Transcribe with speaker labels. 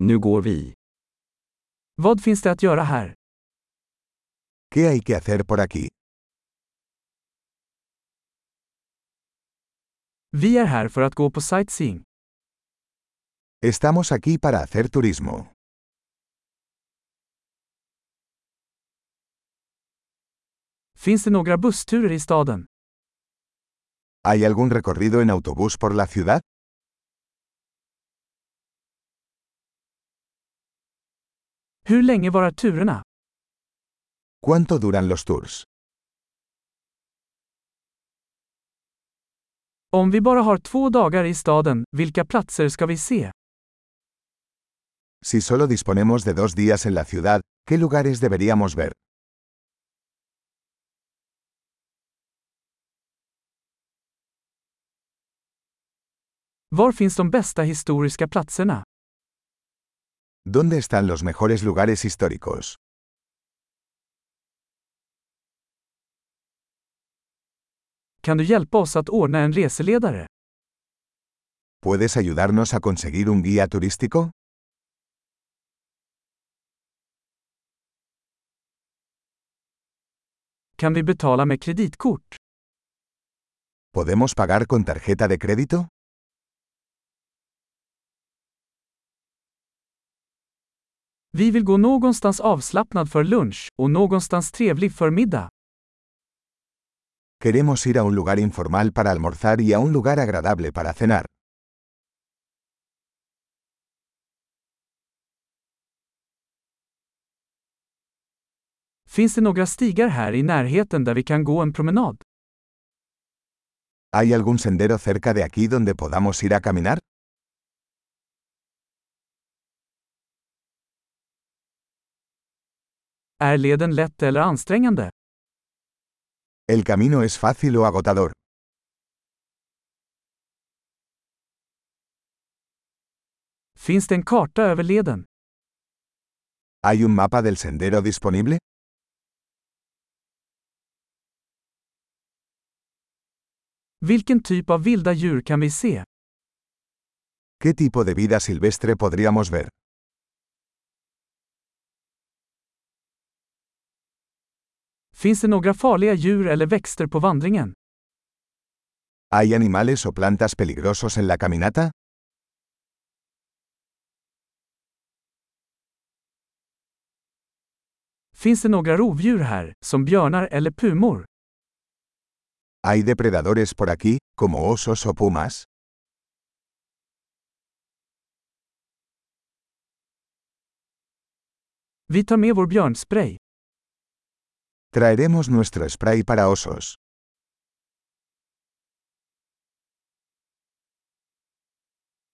Speaker 1: Nu går vi.
Speaker 2: Vad finns det att göra här?
Speaker 3: ¿Qué hay que hacer por aquí?
Speaker 2: Vi är här för att gå på sightseeing.
Speaker 3: Estamos aquí para hacer turismo.
Speaker 2: Finns det några bussturer i staden?
Speaker 3: ¿Hay algún recorrido en autobús por la ciudad?
Speaker 2: Hur länge varar turerna?
Speaker 3: ¿Cuánto duran los tours?
Speaker 2: Om vi bara har två dagar i staden, vilka platser ska vi se?
Speaker 3: Si solo disponemos de dos días en la ciudad, ¿qué lugares deberíamos ver?
Speaker 2: Var finns de bästa historiska platserna?
Speaker 3: ¿Dónde están los mejores lugares históricos?
Speaker 2: Kan du hjälpa oss att ordna en reseledare?
Speaker 3: ¿Puedes ayudarnos a conseguir un guía turístico?
Speaker 2: Kan vi betala med kreditkort?
Speaker 3: ¿Podemos pagar con tarjeta de crédito?
Speaker 2: Vi vill gå någonstans avslappnad för lunch och någonstans trevlig för middag.
Speaker 3: Queremos ir a un lugar informal para almorzar y a un lugar agradable para cenar.
Speaker 2: Finns det några stigar här i närheten där vi kan gå en promenad?
Speaker 3: ¿Hay algún sendero cerca de aquí donde podamos ir a caminar?
Speaker 2: Är leden lätt eller ansträngande?
Speaker 3: ¿El camino es fácil o agotador?
Speaker 2: Finns det en karta över leden?
Speaker 3: ¿Hay un mapa del sendero disponible?
Speaker 2: Vilken typ av vilda djur kan vi se?
Speaker 3: ¿Qué tipo de vida silvestre podríamos ver?
Speaker 2: Finns det några farliga djur eller växter på vandringen?
Speaker 3: ¿Hay animales o plantas peligrosos en la caminata?
Speaker 2: Finns det några rovdjur här, som björnar eller pumor?
Speaker 3: ¿Hay depredadores por aquí, como osos o pumas?
Speaker 2: Vi tar med vår björnspray.
Speaker 3: Traeremos nuestro spray para osos.